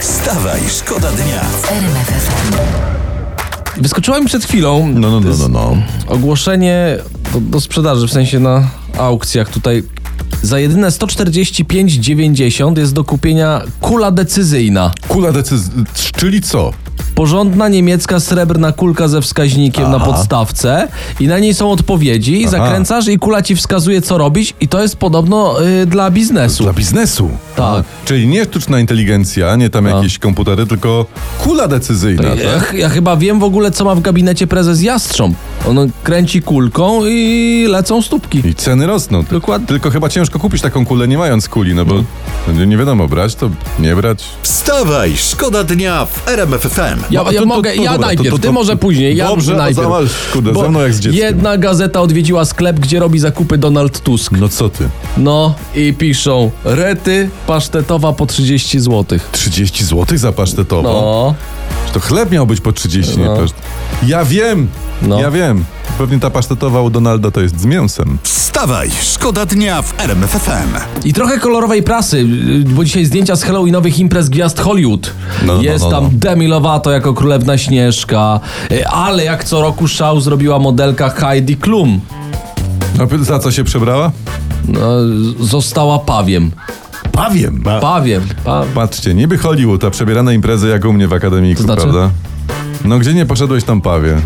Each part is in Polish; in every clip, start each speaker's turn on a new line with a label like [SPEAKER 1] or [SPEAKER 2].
[SPEAKER 1] Wstawaj, szkoda dnia.
[SPEAKER 2] Wyskoczyła mi przed chwilą
[SPEAKER 3] No, no, no, no, no.
[SPEAKER 2] ogłoszenie do, do sprzedaży, w sensie na aukcjach tutaj. Za jedyne 145,90 jest do kupienia kula decyzyjna.
[SPEAKER 3] Kula decyzji. Czyli co?
[SPEAKER 2] Porządna niemiecka srebrna kulka ze wskaźnikiem na
[SPEAKER 3] Aha.
[SPEAKER 2] podstawce i na niej są odpowiedzi, zakręcasz i kula ci wskazuje co robić i to jest podobno y, dla biznesu.
[SPEAKER 3] Dla biznesu.
[SPEAKER 2] Tak. No.
[SPEAKER 3] Czyli nie sztuczna inteligencja, nie tam jakieś komputery, tylko kula decyzyjna,
[SPEAKER 2] Ja,
[SPEAKER 3] tak?
[SPEAKER 2] ch- ja chyba wiem w ogóle co ma w gabinecie prezes Jastrząb. On kręci kulką i lecą stópki.
[SPEAKER 3] I ceny rosną. Ty-
[SPEAKER 2] Dokładnie. Mhm.
[SPEAKER 3] Tylko chyba ciężko kupić taką kulę nie mając kuli, no bo nie- nie wiadomo, brać to, nie brać.
[SPEAKER 1] Wstawaj, szkoda dnia w RMF FM.
[SPEAKER 2] Ja,
[SPEAKER 3] No, a
[SPEAKER 2] ja
[SPEAKER 3] to- to-
[SPEAKER 2] mogę,
[SPEAKER 3] to
[SPEAKER 2] ja
[SPEAKER 3] dobra,
[SPEAKER 2] najpierw,
[SPEAKER 3] to- to-
[SPEAKER 2] ty może później, ja
[SPEAKER 3] Dobrze, a
[SPEAKER 2] najpierw.
[SPEAKER 3] za- aż, kurde,
[SPEAKER 2] Bo
[SPEAKER 3] ze mną jak z dzieckiem.
[SPEAKER 2] Jedna gazeta odwiedziła sklep, gdzie robi zakupy Donald Tusk.
[SPEAKER 3] No co ty?
[SPEAKER 2] No i piszą, rety pasztetowa po 30 zł.
[SPEAKER 3] 30 zł za pasztetową?
[SPEAKER 2] No,
[SPEAKER 3] To chleb miał być po 30,
[SPEAKER 2] No.
[SPEAKER 3] nie paszt... Ja wiem,
[SPEAKER 2] No.
[SPEAKER 3] ja wiem. Pewnie ta pasztetowa u Donalda to jest z mięsem.
[SPEAKER 1] Wstawaj, szkoda dnia w RMF FM.
[SPEAKER 2] i trochę kolorowej prasy, y, bo dzisiaj zdjęcia z Halloweenowych imprez gwiazd Hollywood.
[SPEAKER 3] No, no,
[SPEAKER 2] Jest
[SPEAKER 3] no, no,
[SPEAKER 2] tam
[SPEAKER 3] no.
[SPEAKER 2] Demi Lovato jako królewna Śnieżka, y, ale jak co roku szał zrobiła modelka Heidi Klum.
[SPEAKER 3] A za co się przebrała?
[SPEAKER 2] No, z- została pawiem.
[SPEAKER 3] Pawiem.
[SPEAKER 2] Pawiem, pawiem.
[SPEAKER 3] Patrzcie, niby Hollywood, a przebierane imprezy jak u mnie w akademiku,
[SPEAKER 2] znaczy?
[SPEAKER 3] prawda? No gdzie nie poszedłeś, tam pawie.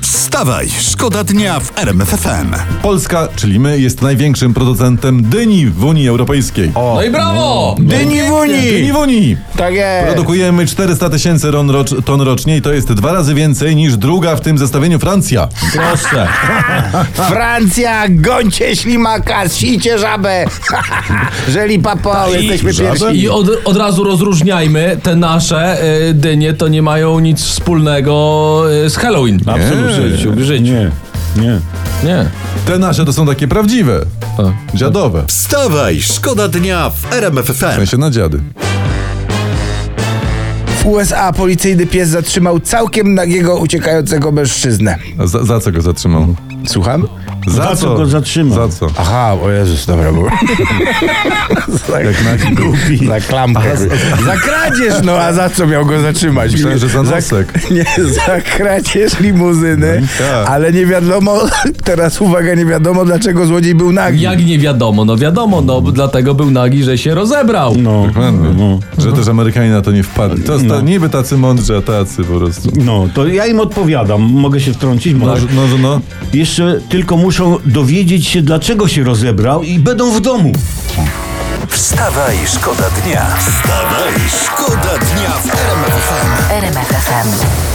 [SPEAKER 1] Wstawaj, szkoda dnia w RMF FM.
[SPEAKER 3] Polska, czyli my, jest największym producentem dyni w Unii Europejskiej. O,
[SPEAKER 2] No i brawo!
[SPEAKER 3] dyni w Unii! Dyni w Unii!
[SPEAKER 4] Tak jest.
[SPEAKER 3] Produkujemy 400 tysięcy ron rocz, ton rocznie i to jest dwa razy więcej niż druga w tym zestawieniu Francja.
[SPEAKER 2] Proszę.
[SPEAKER 4] Francja, gońcie ślimaka, sicie żabę.Żeli papo, jesteśmy
[SPEAKER 3] żabę?
[SPEAKER 5] No
[SPEAKER 4] pierwsi.
[SPEAKER 2] I od, od razu rozróżniajmy te nasze y, dynie, to nie mają nic wspólnego y, z Halloween.
[SPEAKER 3] Absolutnie.
[SPEAKER 2] W życiu, w życiu.
[SPEAKER 5] Nie, nie.
[SPEAKER 2] Nie.
[SPEAKER 3] Te nasze to są takie prawdziwe. Dziadowe.
[SPEAKER 1] Wstawaj, szkoda dnia w RMF
[SPEAKER 3] W
[SPEAKER 1] FM.
[SPEAKER 3] sensie na dziady.
[SPEAKER 4] W USA policyjny pies zatrzymał całkiem nagiego, uciekającego mężczyznę.
[SPEAKER 3] A Za, za co go zatrzymał?
[SPEAKER 4] Słucham?
[SPEAKER 5] Za co go zatrzymał?
[SPEAKER 3] Za co?
[SPEAKER 4] Aha, o Jezus, dobra, bo...
[SPEAKER 5] Na głupi.
[SPEAKER 4] Tak. Za klamkę. Za kradzież, no a za co miał go zatrzymać?
[SPEAKER 3] Myślałem, że za nosek.
[SPEAKER 4] Nie, za kradzież limuzyny,
[SPEAKER 3] tak.
[SPEAKER 4] ale nie wiadomo, teraz uwaga, nie wiadomo dlaczego złodziej był nagi.
[SPEAKER 2] Jak nie wiadomo? No wiadomo, no bo dlatego był nagi, że się rozebrał.
[SPEAKER 5] No, no,
[SPEAKER 3] Że też Amerykanie na to nie wpadli. To jest ta, niby tacy mądrzy, a tacy po prostu.
[SPEAKER 5] no, to ja im odpowiadam. Mogę się wtrącić?
[SPEAKER 3] No,
[SPEAKER 5] Mogę.
[SPEAKER 3] że- no, że no.
[SPEAKER 5] Jeszcze tylko muszą dowiedzieć się, dlaczego się rozebrał i będą w domu.
[SPEAKER 1] Wstawaj, szkoda dnia. Wstawaj, szkoda dnia w RMF FM.
[SPEAKER 6] RMFFM.